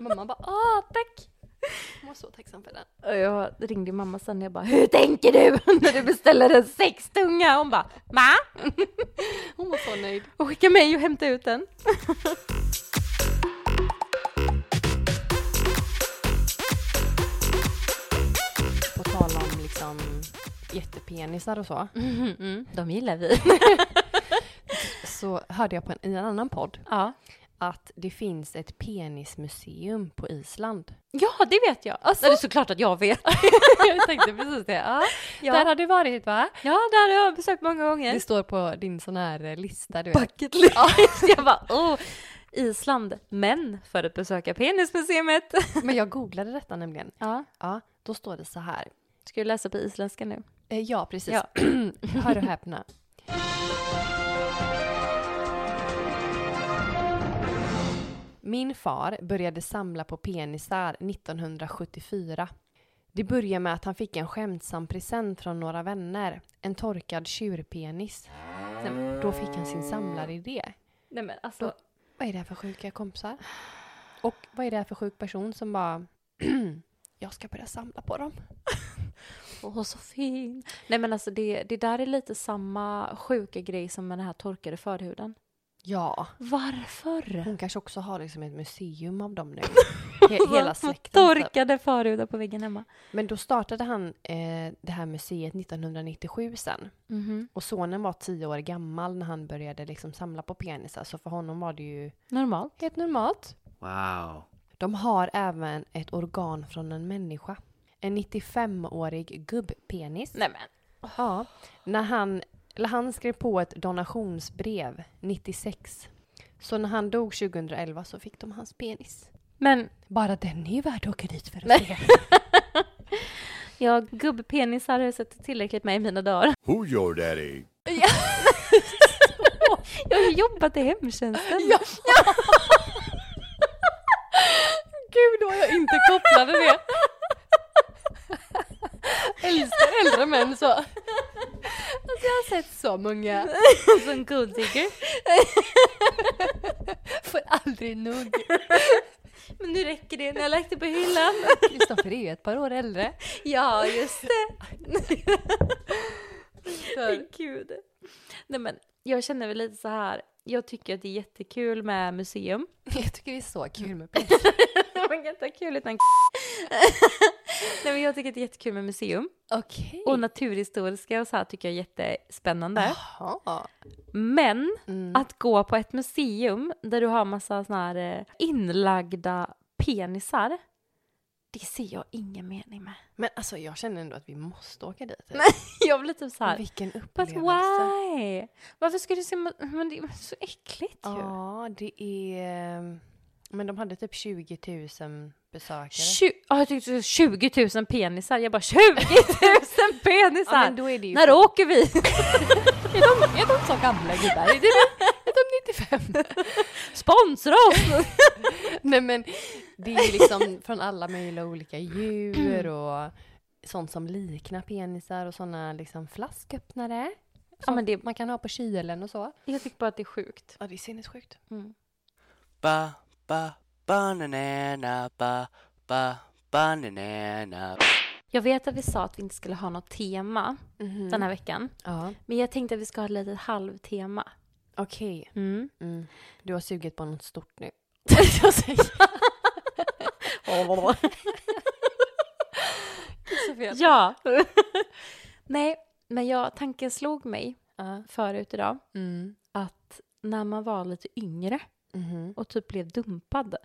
A: Mamma bara ah, tack. Jag var så tacksam för den.
B: Och jag ringde mamma sen och jag bara, hur tänker du när du beställer en sextunga? Hon bara, ma?
A: Hon var så nöjd.
B: Och skicka mig och hämta ut den.
A: På tal om liksom jättepenisar och så.
B: De gillar vi.
A: Så hörde jag på en, i en annan podd
B: Ja.
A: att det finns ett penismuseum på Island.
B: ja, det vet jag. Alltså, det är såklart att jag vet. jag tänkte precis det. Ja, ja.
A: Där har du varit va?
B: ja där har jag besökt många
A: Det
B: gånger.
A: står på din sån här eh, lista du vet.
B: Bucket list. jag bara, oh, Island, men för att besöka penismuseet.
A: Men jag googlade detta nämligen.
B: Ja.
A: Ja, då står det så här.
B: Ska du läsa på isländska nu?
A: Eh, Ja, precis.
B: Ja.
A: Hör och häpna. Min far började samla på penisar 1974. Det började med att han fick en skämtsam present från några vänner. En torkad tjurpenis. Sen, då fick han sin samlaridé.
B: Nej men alltså,
A: Vad är det här för sjuka kompisar? Och vad är det här för sjuk person som bara... jag ska börja samla på dem.
B: Åh, så fin! Nej men alltså det, det där är lite samma sjuka grej som med den här torkade förhuden.
A: Ja.
B: Varför?
A: Hon kanske också har liksom ett museum av dem nu. He- hela
B: Små
A: släkten. typ.
B: Torkade förhudar på väggen hemma.
A: Men då startade han eh, det här museet 1997 sen. Och sonen var tio år gammal när han började liksom samla på penisar. Så för honom var det ju
B: Normalt.
A: helt normalt.
C: Wow.
A: De har även ett organ från en människa. En 95-årig gubbpenis.
B: Nej men.
A: Ja, när han, eller han skrev på ett donationsbrev 96. Så när han dog 2011 så fick de hans penis.
B: Men
A: Bara den är ju värd att åka dit för att se.
B: jag gubbpenisar har jag sett tillräckligt med i mina dagar.
C: Who's your daddy?
B: Jag har ju jobbat i hemtjänsten.
A: Ja. Gud, då har jag inte kopplade det. Älskar äldre män så. Alltså jag har sett så många.
B: Som golddigger.
A: Får aldrig nog.
B: Men nu räcker det, när jag lagt det på hyllan.
A: Kristoffer är ju ett par år äldre.
B: Ja, just det. Men Gud. Nej men, jag känner väl lite så här. Jag tycker att det är jättekul med museum.
A: Jag tycker det är så kul med penis.
B: Man kan inte ha kul utan Nej men jag tycker att det är jättekul med museum.
A: Okej.
B: Och naturhistoriska och så här tycker jag är jättespännande.
A: Jaha.
B: Men
A: Mm.
B: att gå på ett museum där du har massa såna här eh, inlagda penisar. Det ser jag ingen mening med.
A: Men alltså jag känner ändå att vi måste åka dit.
B: Jag blir typ så här.
A: Vilken
B: But
A: upplevelse.
B: why? Varför ska du se... Men det är så äckligt ju.
A: Ja, det är... Men de hade typ 20 000 besökare.
B: Tju- ja, jag tyckte det var 20 000 penisar. Jag bara 20 000 penisar!
A: Ja, men då är det ju...
B: När åker vi?
A: Är de, är de så gamla gubbar? Är, det, är de 95?
B: Sponsra oss!
A: Nej men det är ju liksom från alla möjliga olika djur och sånt som liknar penisar och såna liksom flasköppnare.
B: ja, men det,
A: Man kan ha på kylen och så.
B: jag tycker bara att det är sjukt.
A: Ja, det är sinnessjukt.
B: Mm.
D: ba ba banana ba ba banana
B: Jag vet att vi sa att vi inte
A: Mm.
B: skulle ha något tema den här veckan.
A: Mhm. Ja.
B: Men jag tänkte att vi ska ha ett litet halvtema.
A: Okej.
B: Mm.
A: Mm. Du har sugit på något stort nu.
B: ja. Nej, men jag, tanken slog mig förut idag
A: Mm.
B: att när man var lite yngre
A: Mhm.
B: och typ blev dumpad,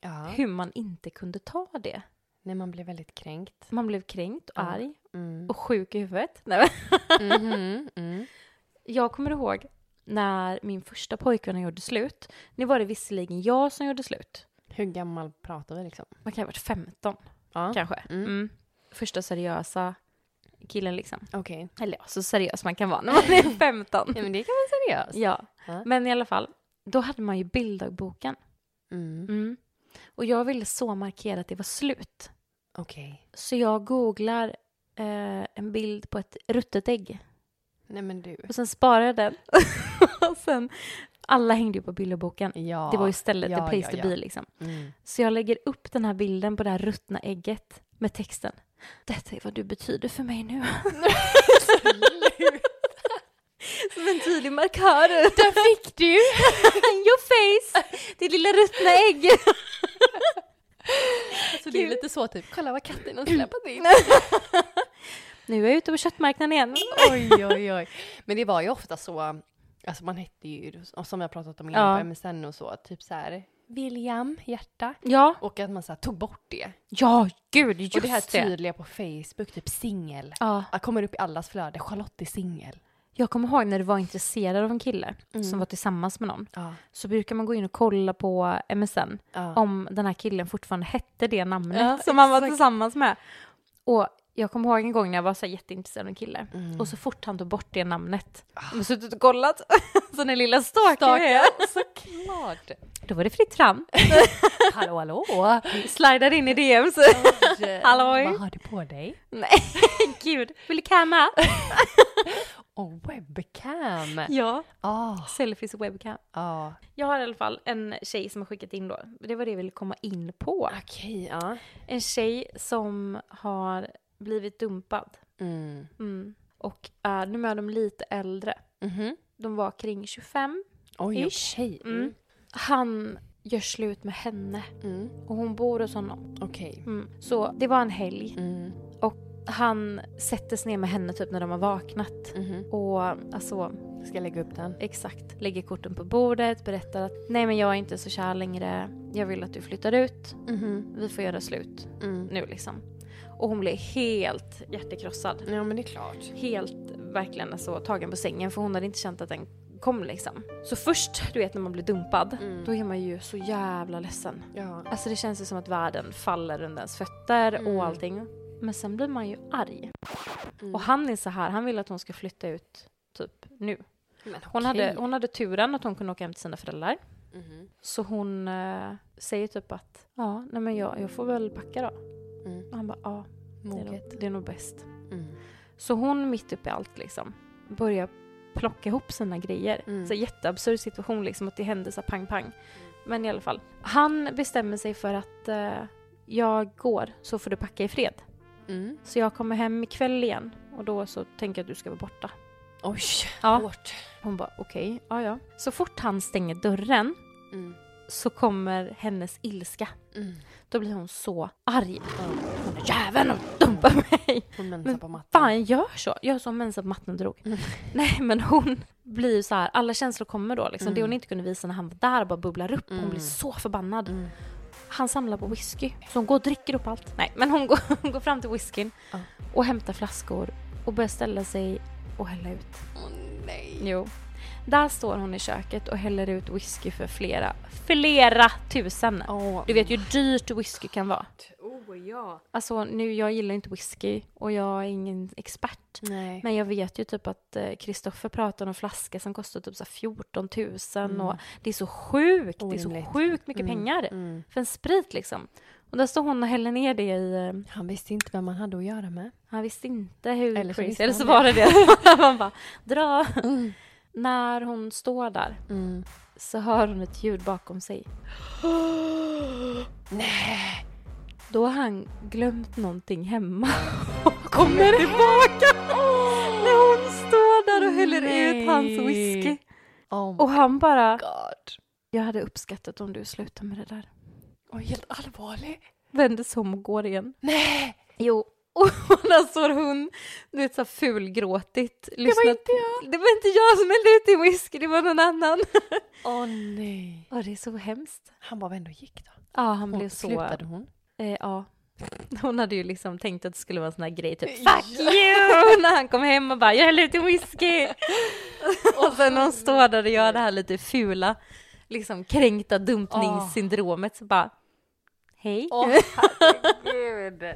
A: Ja.
B: hur man inte kunde ta det.
A: När man blir väldigt kränkt.
B: Man blev kränkt och
A: Ja.
B: arg
A: Mm.
B: och sjuk i huvudet. Nej, men.
A: Mhm. Mm.
B: Jag kommer ihåg när min första pojkvän gjorde slut. Nu var det visserligen jag som gjorde slut.
A: Hur gammal pratar vi liksom?
B: Man kan ha varit 15
A: Ja.
B: kanske.
A: Mm.
B: Mm. Första seriösa killen liksom.
A: Okej.
B: Eller ja, så seriös man kan vara när man är 15.
A: Ja, men det kan vara seriöst.
B: Ja,
A: Ja.
B: men i alla fall. Då hade man ju bilddagboken.
A: Mm.
B: Mm. Och jag ville så markera att det var slut.
A: Okej.
B: Så jag googlar eh, en bild på ett ruttet ägg.
A: Nej men du.
B: Och sen sparar jag den. och sen, alla hängde ju på bilddagboken.
A: Ja.
B: Det var ju stället,
A: Ja,
B: the place
A: ja,
B: to
A: ja.
B: be liksom.
A: Mm.
B: Så jag lägger upp den här bilden på det här ruttna ägget med texten. Detta är vad du betyder för mig nu. Som en tydlig markör. Där fick du! In your face! Det lilla ruttna ägg.
A: Så det är lite så typ, kolla vad katten har släpat in.
B: Nu är jag ute på köttmarknaden igen.
A: oj, oj, oj. Men det var ju ofta så, alltså man hette ju, som jag pratat om innan på
B: Ja.
A: MSN och så, typ så här William, hjärta.
B: Ja,
A: Och att man så här, tog bort det.
B: ja gud just
A: och det här tydliga på Facebook, typ singel.
B: Ja,
A: Jag kommer upp i allas flöde, Charlotte är singel.
B: jag kommer ihåg när du var intresserad av en kille
A: Mm.
B: som var tillsammans med någon.
A: Ja.
B: Så brukar man gå in och kolla på MSN.
A: Ja.
B: om den här killen fortfarande hette det namnet
A: Ja,
B: som han var
A: exakt.
B: tillsammans med. Och jag kommer ihåg en gång när jag var så här jätteintresserad av en kille
A: Mm.
B: och så fort han tog bort det namnet,
A: Ah.
B: jag har suttit och kollat, så den lilla stalkern är.
A: Såklart!
B: Då var det fritt fram.
A: Hallå hallå!
B: Slidar in i DMs. Halloj.
A: Vad har du på dig?
B: Nej, gud. Vill du camma?
A: Och webcam!
B: Ja.
A: Ah,
B: Selfies och webcam.
A: ah.
B: Jag har i alla fall en tjej som har skickat in då. Det var det jag ville komma in på.
A: Okej, ja.
B: En tjej som har blivit dumpad.
A: Mm.
B: Mm. Och är, nu är de lite äldre.
A: Mhm.
B: De var kring 25.
A: Oj,
B: Ish.
A: okej.
B: Mm. Han gör slut med henne
A: Mm.
B: och hon bor hos honom.
A: Okej.
B: Mm. Så det var en helg.
A: Mm.
B: Han sätter sig ner med henne typ när de har vaknat.
A: Mhm.
B: Och alltså
A: Ska jag lägga upp den?
B: exakt, lägger korten på bordet, berättar att nej men jag är inte så kär längre. Jag vill att du flyttar ut.
A: Mhm.
B: Vi får göra slut
A: Mm.
B: nu liksom. Och hon blev helt hjärtekrossad.
A: Ja, men det är klart.
B: helt verkligen alltså, tagen på sängen för hon hade inte känt att den kom liksom. Så först, du vet när man blir dumpad,
A: Mm.
B: då är man ju så jävla ledsen.
A: Ja.
B: Alltså det känns ju som att världen faller runt ens fötter
A: Mm.
B: och allting. Men sen blir man ju arg.
A: Mm.
B: Och han är så här, han vill att hon ska flytta ut typ nu.
A: Men
B: Hon,
A: okej.
B: hade, hon hade turen att hon kunde åka hem till sina föräldrar.
A: Mhm.
B: Så hon eh, säger typ att ja, nej men jag, jag får väl packa då.
A: Mm.
B: Och han bara ja, det är, nog,
A: Moget.
B: det är nog bäst.
A: Mm.
B: Så hon mitt uppe i allt liksom börjar plocka ihop sina grejer.
A: Mm.
B: Så jätteabsurd situation liksom att det hände så här pang pang. Men i alla fall. Han bestämmer sig för att eh, jag går så får du packa i fred.
A: Mm.
B: Så jag kommer hem ikväll igen och då så tänker jag att du ska vara borta.
A: Oj,
B: Ja.
A: hårt.
B: Hon bara okej, ja ja. Så fort han stänger dörren
A: Mm.
B: så kommer hennes ilska.
A: Mm.
B: Då blir hon så arg. Hon bara, jäveln och dumpar mig.
A: Hon mensar
B: Men
A: på mattan.
B: Fan, gör så. Gör så mensen på matten drog.
A: Mm.
B: Nej, men hon blir ju så här, alla känslor kommer då. Liksom.
A: Mm.
B: Det hon inte kunde visa när han var där bara bubblar upp. Hon blir så förbannad.
A: Mm.
B: Han samlar på whisky. Så hon går och dricker upp allt. Nej, men hon går, hon går fram till whiskyn
A: Ja.
B: och hämtar flaskor och börjar ställa sig och hälla ut.
A: Åh, nej.
B: Jo. Där står hon i köket och häller ut whisky för flera, flera tusen.
A: Åh.
B: Du vet ju hur dyrt whisky kan vara.
A: Oh, ja.
B: Alltså nu, jag gillar inte whisky och jag är ingen expert.
A: Nej.
B: Men jag vet ju typ att Kristoffer pratar om en flaska som kostar typ så här 14 000 och det är så sjukt, det är
A: Mm. Orimligt.
B: så sjukt mycket pengar
A: Mm.
B: för en sprit liksom. Och där står hon och häller ner det i, eh,
A: Han visste inte vem man hade att göra med.
B: han visste inte hur
A: Eller så
B: crazy,
A: visste Mm.
B: eller så
A: han
B: var det det. Man bara, dra. När hon står där
A: Mm.
B: så hör hon ett ljud bakom sig.
A: Nej!
B: Då har han glömt någonting hemma och kommer tillbaka när hon står där och häller ut hans
A: Nej.
B: whisky.
A: Oh my
B: Och han bara,
A: god.
B: jag hade uppskattat om du slutade med det där.
A: Och helt allvarlig.
B: Vänder sig om och går igen.
A: Nej,
B: Jo. Och där står hon, du vet så här fulgråtigt.
A: det var
B: lyssnat-
A: inte jag.
B: Det var inte jag som hällde ut din whisky, det var någon annan.
A: Åh nej.
B: Åh, det är så hemskt.
A: Han bara, vänd och gick då.
B: Ja, han
A: Hon,
B: blev så...
A: Slutade hon?
B: Eh, ja. Hon hade ju liksom tänkt att det skulle vara en sån här grej, typ
A: Ja.
B: fuck you! När han kom hem och bara jag häller ut en whisky. och sen när hon står där och gör det här lite fula, liksom kränkta dumpningssyndromet så bara hej.
A: herregud.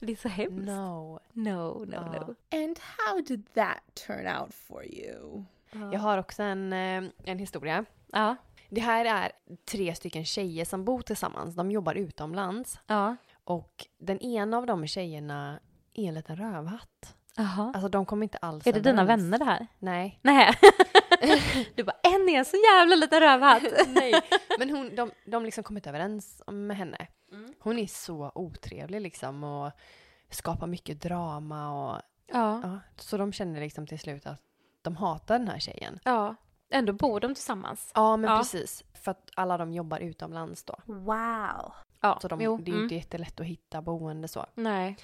B: Det är så hemskt. No,
A: No.
B: no, no.
A: Ja.
E: And how did that turn out for you?
A: Jag har också en, eh, en historia.
B: Ja,
A: Det här är tre stycken tjejer som bor tillsammans. De jobbar utomlands.
B: ja,
A: Och den ena av de tjejerna är en liten rövhatt.
B: jaha.
A: Alltså de kommer inte alls
B: Är det dina
A: överens.
B: vänner det här?
A: Nej.
B: Nej. du bara en är så jävla liten rövhatt.
A: Nej. Men hon, de, de liksom kommer inte överens om- med henne.
B: Mm.
A: Hon är så otrevlig liksom och skapar mycket drama och
B: ja,
A: ja, så de känner liksom till slut att de hatar den här tjejen.
B: ja. Ändå bor de tillsammans.
A: Ja men
B: Ja.
A: precis. För att alla de jobbar utomlands då.
E: Wow.
B: Ja,
A: Så de,
B: jo, mm.
A: det är ju inte jättelätt att hitta boende så.
B: Nej.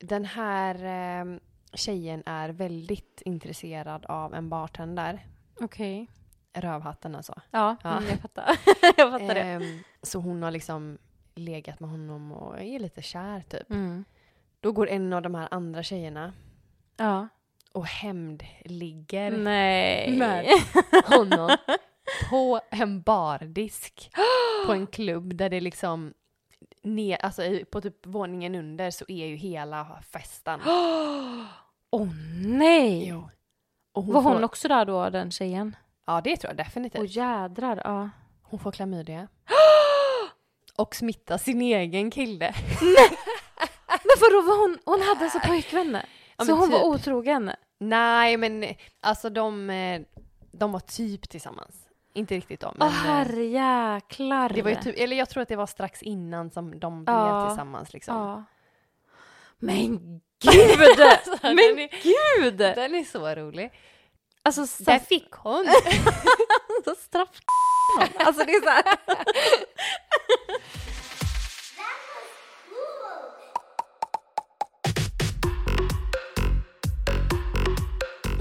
A: Den här eh, tjejen är väldigt intresserad av en bartender.
B: Okej.
A: Rövhatten alltså.
B: Ja,
A: Ja.
B: Mm, jag fattar. jag fattar det.
A: Ehm, så hon har liksom legat med honom och är lite kär typ.
B: Mm.
A: Då går en av de här andra tjejerna
B: Ja.
A: och hämndligger
B: Mm. Nej.
A: Nej. honom på en bardisk på en klubb där det liksom ner, alltså i- på typ våningen under så är ju hela festen.
B: Åh nej!
A: Jo. Och hon
B: Var
A: får,
B: hon också där då, den tjejen?
A: Ja det tror jag
B: Åh
A: definitivt.
B: jädrar, ja.
A: Hon får klamydia. Och smittar sin egen kille.
B: Men vadå, var hon, hon hade alltså pojkvänner?
A: Ja,
B: så
A: men
B: hon var
A: typ.
B: otrogen?
A: Nej men alltså de, eh, de var typ tillsammans. Inte riktigt de.
B: Åh
A: eh,
B: herrejäklar!
A: det var ju typ, eller jag tror att det var strax innan som de blev
B: Ja.
A: tillsammans liksom.
B: Ja. Men gud! Alltså,
A: Alltså, den
B: Men
A: är-
B: gud!
A: Den är så rolig.
B: Alltså, så,
A: Där fick hon!
B: så straff... Alltså det är så här.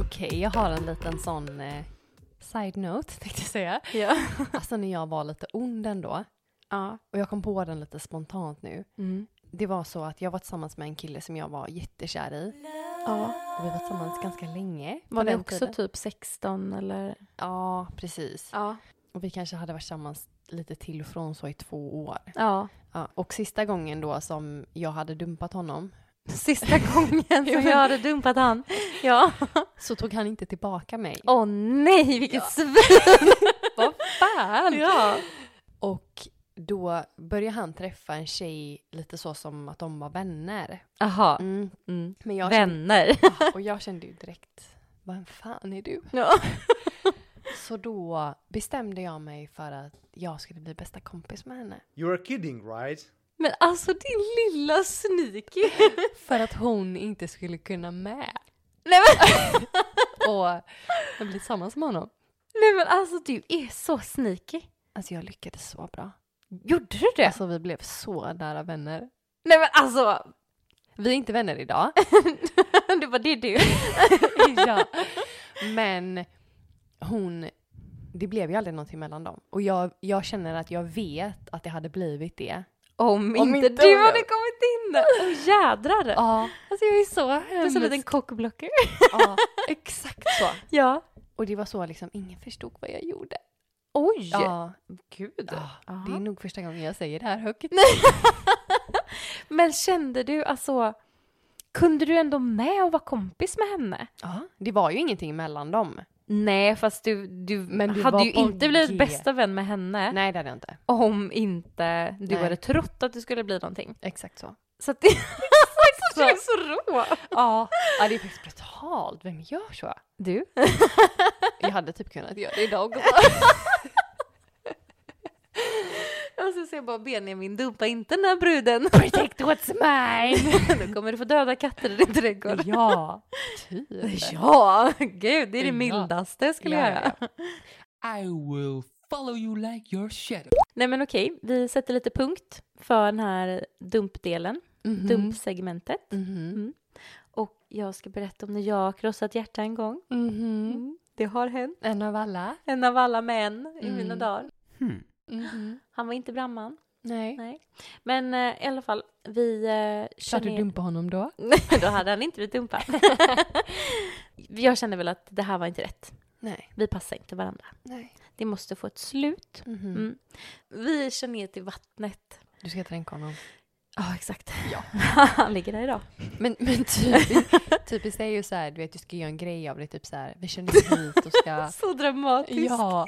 A: Okej, jag har en liten sån eh, side-note tänkte jag säga.
B: Ja.
A: Alltså när jag var lite ond ändå,
B: ja.
A: och jag kom på den lite spontant nu.
B: Mm.
A: Det var så att jag var tillsammans med en kille som jag var jättekär i.
B: ja.
A: Och vi var tillsammans ganska länge. på
B: Var ni
A: den
B: också
A: tiden.
B: typ 16 eller?
A: Ja, precis.
B: Ja.
A: Och vi kanske hade varit tillsammans lite till och från så i två år.
B: Ja.
A: Ja, och sista gången då som jag hade dumpat honom
B: Sista gången
A: Jo,
B: som
A: men-
B: jag hade dumpat han. Ja.
A: så tog han inte tillbaka mig.
B: Åh nej, vilket svin! Vad fan! Ja.
A: Och då började han träffa en tjej lite så som att de var vänner.
B: Aha.
A: Mm.
B: Mm.
A: Men jag kände,
B: Vänner.
A: ja, och jag kände ju direkt, vem fan är du?
B: Ja.
A: Så då bestämde jag mig för att jag skulle bli bästa kompis med henne.
F: You are kidding, right?
B: Men alltså din lilla sneaky.
A: För att hon inte skulle kunna med
B: Nej men,
A: och bli tillsammans med honom.
B: nej men alltså du är så sneaky.
A: Alltså jag lyckades så bra.
B: Gjorde du det?
A: Alltså vi blev så nära vänner.
B: Nej men alltså,
A: Vi är inte vänner idag.
B: du var det är du.
A: ja. Men hon, det blev ju aldrig någonting mellan dem. Och jag, jag känner att jag vet att det hade blivit det.
B: Om inte,
A: inte
B: du
A: jag-
B: hade kommit in. Oh, jädrar.
A: Ja,
B: Alltså jag är så Du är
A: hemsk.
B: som en liten kockblocker.
A: ja exakt så.
B: Ja.
A: Och det var så liksom, ingen förstod vad jag gjorde.
B: Oj.
A: Ja,
B: Gud.
A: ja,
B: Aha.
A: det är nog första gången jag säger det här högt.
B: Men kände du alltså, kunde du ändå med och vara kompis med henne?
A: Ja, det var ju ingenting mellan dem.
B: Nej, fast du, du,
A: Men du var
B: hade ju
A: på
B: inte blivit
A: G.
B: bästa vän med henne
A: Nej, det hade jag inte.
B: om inte du
A: Nej.
B: hade trott att du skulle bli någonting.
A: Exakt så.
B: Så att det så, är så rå.
A: Ja, ja det är faktiskt brutalt. Vem gör så?
B: Du?
A: Jag hade typ kunnat göra det idag också.
B: Jag ska säga bara Benjamin, dumpa inte den här bruden.
A: Protect what's mine!
B: Då kommer du få döda katter i din trädgård.
A: Ja, typ. tur.
B: Ja, gud, det är det
A: Ja.
B: mildaste jag skulle
A: Ja, ja,
B: göra.
F: I will follow you like your shadow.
B: Nej men okej, vi sätter lite punkt för den här dumpdelen,
A: Mhm.
B: dumpsegmentet.
A: Mhm.
B: Och jag ska berätta om när jag har krossat hjärta en gång.
A: Mhm.
B: Mm. Det har hänt.
A: En av alla.
B: En av alla män i
A: Mm.
B: mina dagar.
C: Hmm.
A: Mhm.
B: Han var inte brandman.
A: Nej.
B: Nej. Men eh, i alla fall, vi eh, kör
A: Ska du
B: ner...
A: dumpa honom då?
B: Nej, då hade han inte blivit dumpad. jag kände väl att det här var inte rätt.
A: Nej.
B: Vi passar inte varandra.
A: Nej.
B: Det måste få ett slut.
A: Mhm.
B: Mm. Vi kör ner till vattnet.
A: Du ska dränka honom.
B: Ja, exakt. han ligger där idag.
A: Men, men typiskt, typiskt är ju så här, du vet du ska göra en grej av det, typ så här, vi känner hit och ska...
B: Så dramatiskt.
A: ja.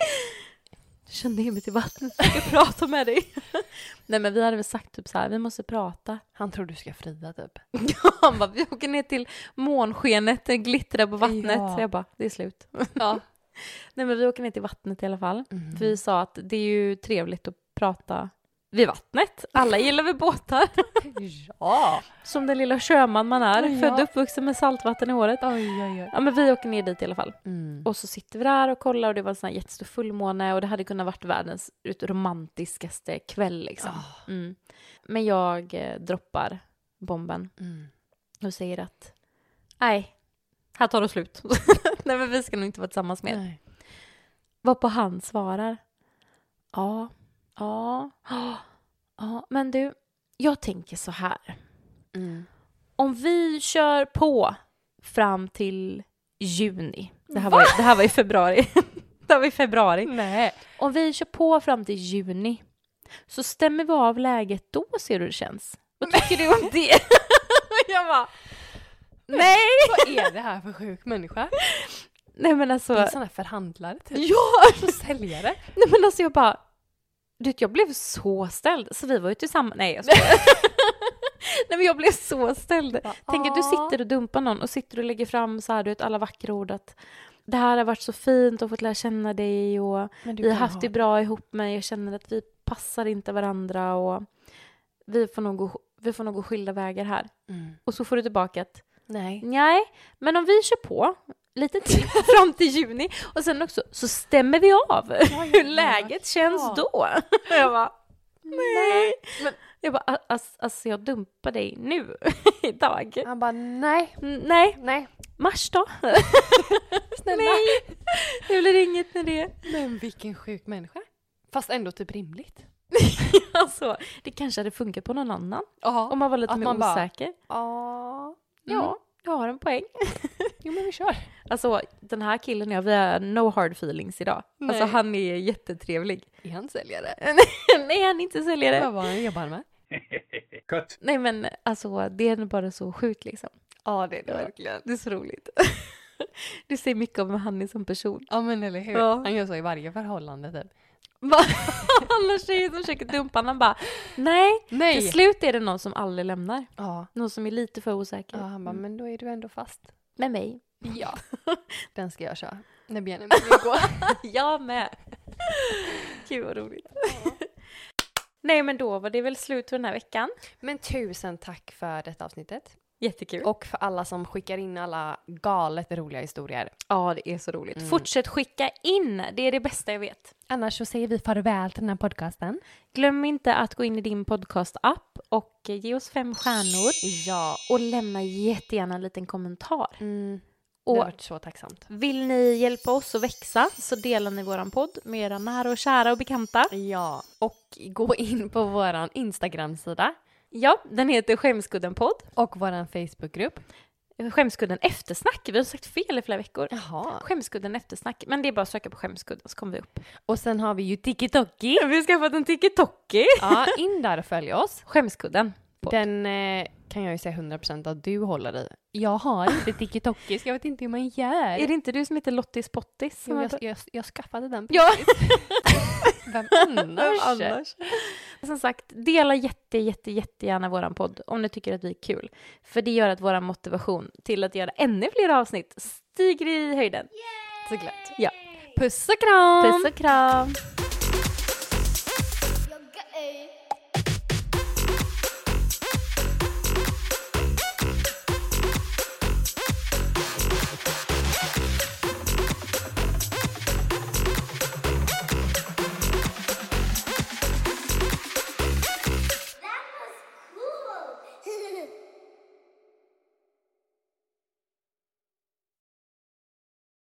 B: Känn ner mig till vattnet, jag ska prata med dig. Nej men vi hade väl sagt typ så här, vi måste prata.
A: Han tror du ska fria typ.
B: Han bara, vi åker ner till månskenet, det glittrar på vattnet.
A: Ja.
B: Så jag bara, det är slut. Nej men vi åker ner till vattnet i alla fall.
A: Mhm.
B: För vi sa att det är ju trevligt att prata vid vattnet. Alla gillar väl båtar.
A: Ja!
B: Som den lilla sjöman man är,
A: Ja.
B: född och uppvuxen med saltvatten i håret.
A: Oj, oj, oj.
B: Ja men vi åker ner dit i alla fall.
A: Mm.
B: Och så sitter vi där och kollar och det var en sån här jättestor fullmåne och det hade kunnat varit världens ut- romantiskaste kväll liksom.
A: Ah.
B: Mm. Men jag eh, droppar bomben
A: Mm.
B: och säger att nej, här tar det slut. nej men vi ska nog inte vara tillsammans mer.
A: Nej.
B: Varpå han svarar ja, ja, ja, ja, men du, jag tänker så här.
A: Mm.
B: Om vi kör på fram till juni. Det här var, det här var i februari. det här var i februari.
A: Nej.
B: Om vi kör på fram till juni så stämmer vi av läget då ser du hur det känns. Vad tycker du om det? jag bara, nej!
A: Vad är det här för sjuk människa?
B: Nej men
A: Det är
B: alltså,
A: en sån här förhandlare typ.
B: ja!
A: Säljare.
B: Nej men alltså jag bara, du vet jag blev så ställd. Så vi var ju tillsammans, nej jag skojar. Nej men jag blev så ställd. Tänk att du sitter och dumpar någon och sitter och lägger fram så här, du vet, alla vackra ord att det här har varit så fint och fått lära känna dig och
A: Men du
B: vi har
A: kan
B: haft det bra ihop men jag känner att vi passar inte varandra och vi får nog gå, vi får nog gå skilda vägar här.
A: Mm.
B: Och så får du tillbaka att
A: Nej.
B: nej, men om vi kör på lite till fram till juni och sen också så stämmer vi av hur läget känns då. Och jag bara, nej.
A: Men-
B: Jag bara, "Al- alltså, alltså jag dumpar dig nu, idag.
A: Han bara nej,
B: Mm, Nej,
A: nej,
B: mars då?
A: snälla.
B: Nej, det blir inget med det.
A: Men vilken sjuk människa. Fast ändå typ rimligt.
B: Alltså, det kanske hade funkat på någon annan.
A: Ja.
B: Om man var lite
A: Att
B: mer
A: man bara-
B: osäker. Mm.
A: Ja.
B: Ja, jag har en poäng.
A: Jo men vi kör.
B: Alltså den här killen och jag, vi har no hard feelings idag. Alltså
A: Nej.
B: han är jättetrevlig.
A: Är han säljare?
B: Nej, han är inte säljare.
A: Vad var han jobbar med?
C: Cut.
B: Nej men alltså det är bara så sjukt liksom.
A: Ja det är
B: Ja.
A: verkligen.
B: Det är så roligt. Du säger mycket om han är som person.
A: Ja men eller hur.
B: Ja.
A: Han gör så i varje förhållande typ.
B: Bara- Alla tjejer som försöker dumpa honom bara nej.
A: Nej!
B: Till slut är det någon som aldrig lämnar.
A: ja.
B: Någon som är lite för osäker. Mm.
A: ja han bara men då är du ändå fast.
B: Med mig.
A: Ja. Den ska jag köra. När Benjamin vill gå.
B: Jag med. Gud vad roligt. Nej men då var det väl slut för den här veckan.
A: Men tusen tack för detta avsnittet.
B: Jättekul.
A: Och för alla som skickar in alla galet roliga historier.
B: Ja, det är så roligt. Fortsätt skicka in, det är det bästa jag vet.
A: Annars så säger vi farväl till den här podcasten.
B: Glöm inte att gå in i din podcast-app och ge oss fem stjärnor
A: Ja.
B: och lämna jättegärna en liten kommentar.
A: Mm. Det har
B: Och
A: varit så tacksamt.
B: vill ni hjälpa oss att växa så delar ni våran podd med era nära och kära och bekanta.
A: Ja, och gå in på vår Instagram-sida
B: Ja, den heter Skämskudden-podd. Eh,
A: och vår Facebookgrupp.
B: Skämskudden eftersnack, vi har sagt fel i flera veckor.
A: Jaha.
B: Skämskudden eftersnack, men det är bara att söka på Skämskudden så kommer vi upp.
A: Och sen har vi ju TikToki.
B: Vi har skaffat en tiki-toki.
A: Ja, in där och följ oss.
B: Skämskudden. Podd.
A: Den eh, kan jag ju säga 100% att du håller i. Jag har inte TikToki så jag vet inte hur man gör.
B: Är det inte du som heter Lottis Pottis?
A: Jo, jag, jag, jag skaffade den
B: Ja.
A: Vem annars?
B: Som sagt, dela jätte, jätte, jättegärna våran podd om ni tycker att vi är kul. För det gör att våran motivation till att göra ännu fler avsnitt stiger i höjden.
A: Såklart.
B: Ja.
A: Puss och kram!
B: Puss och kram!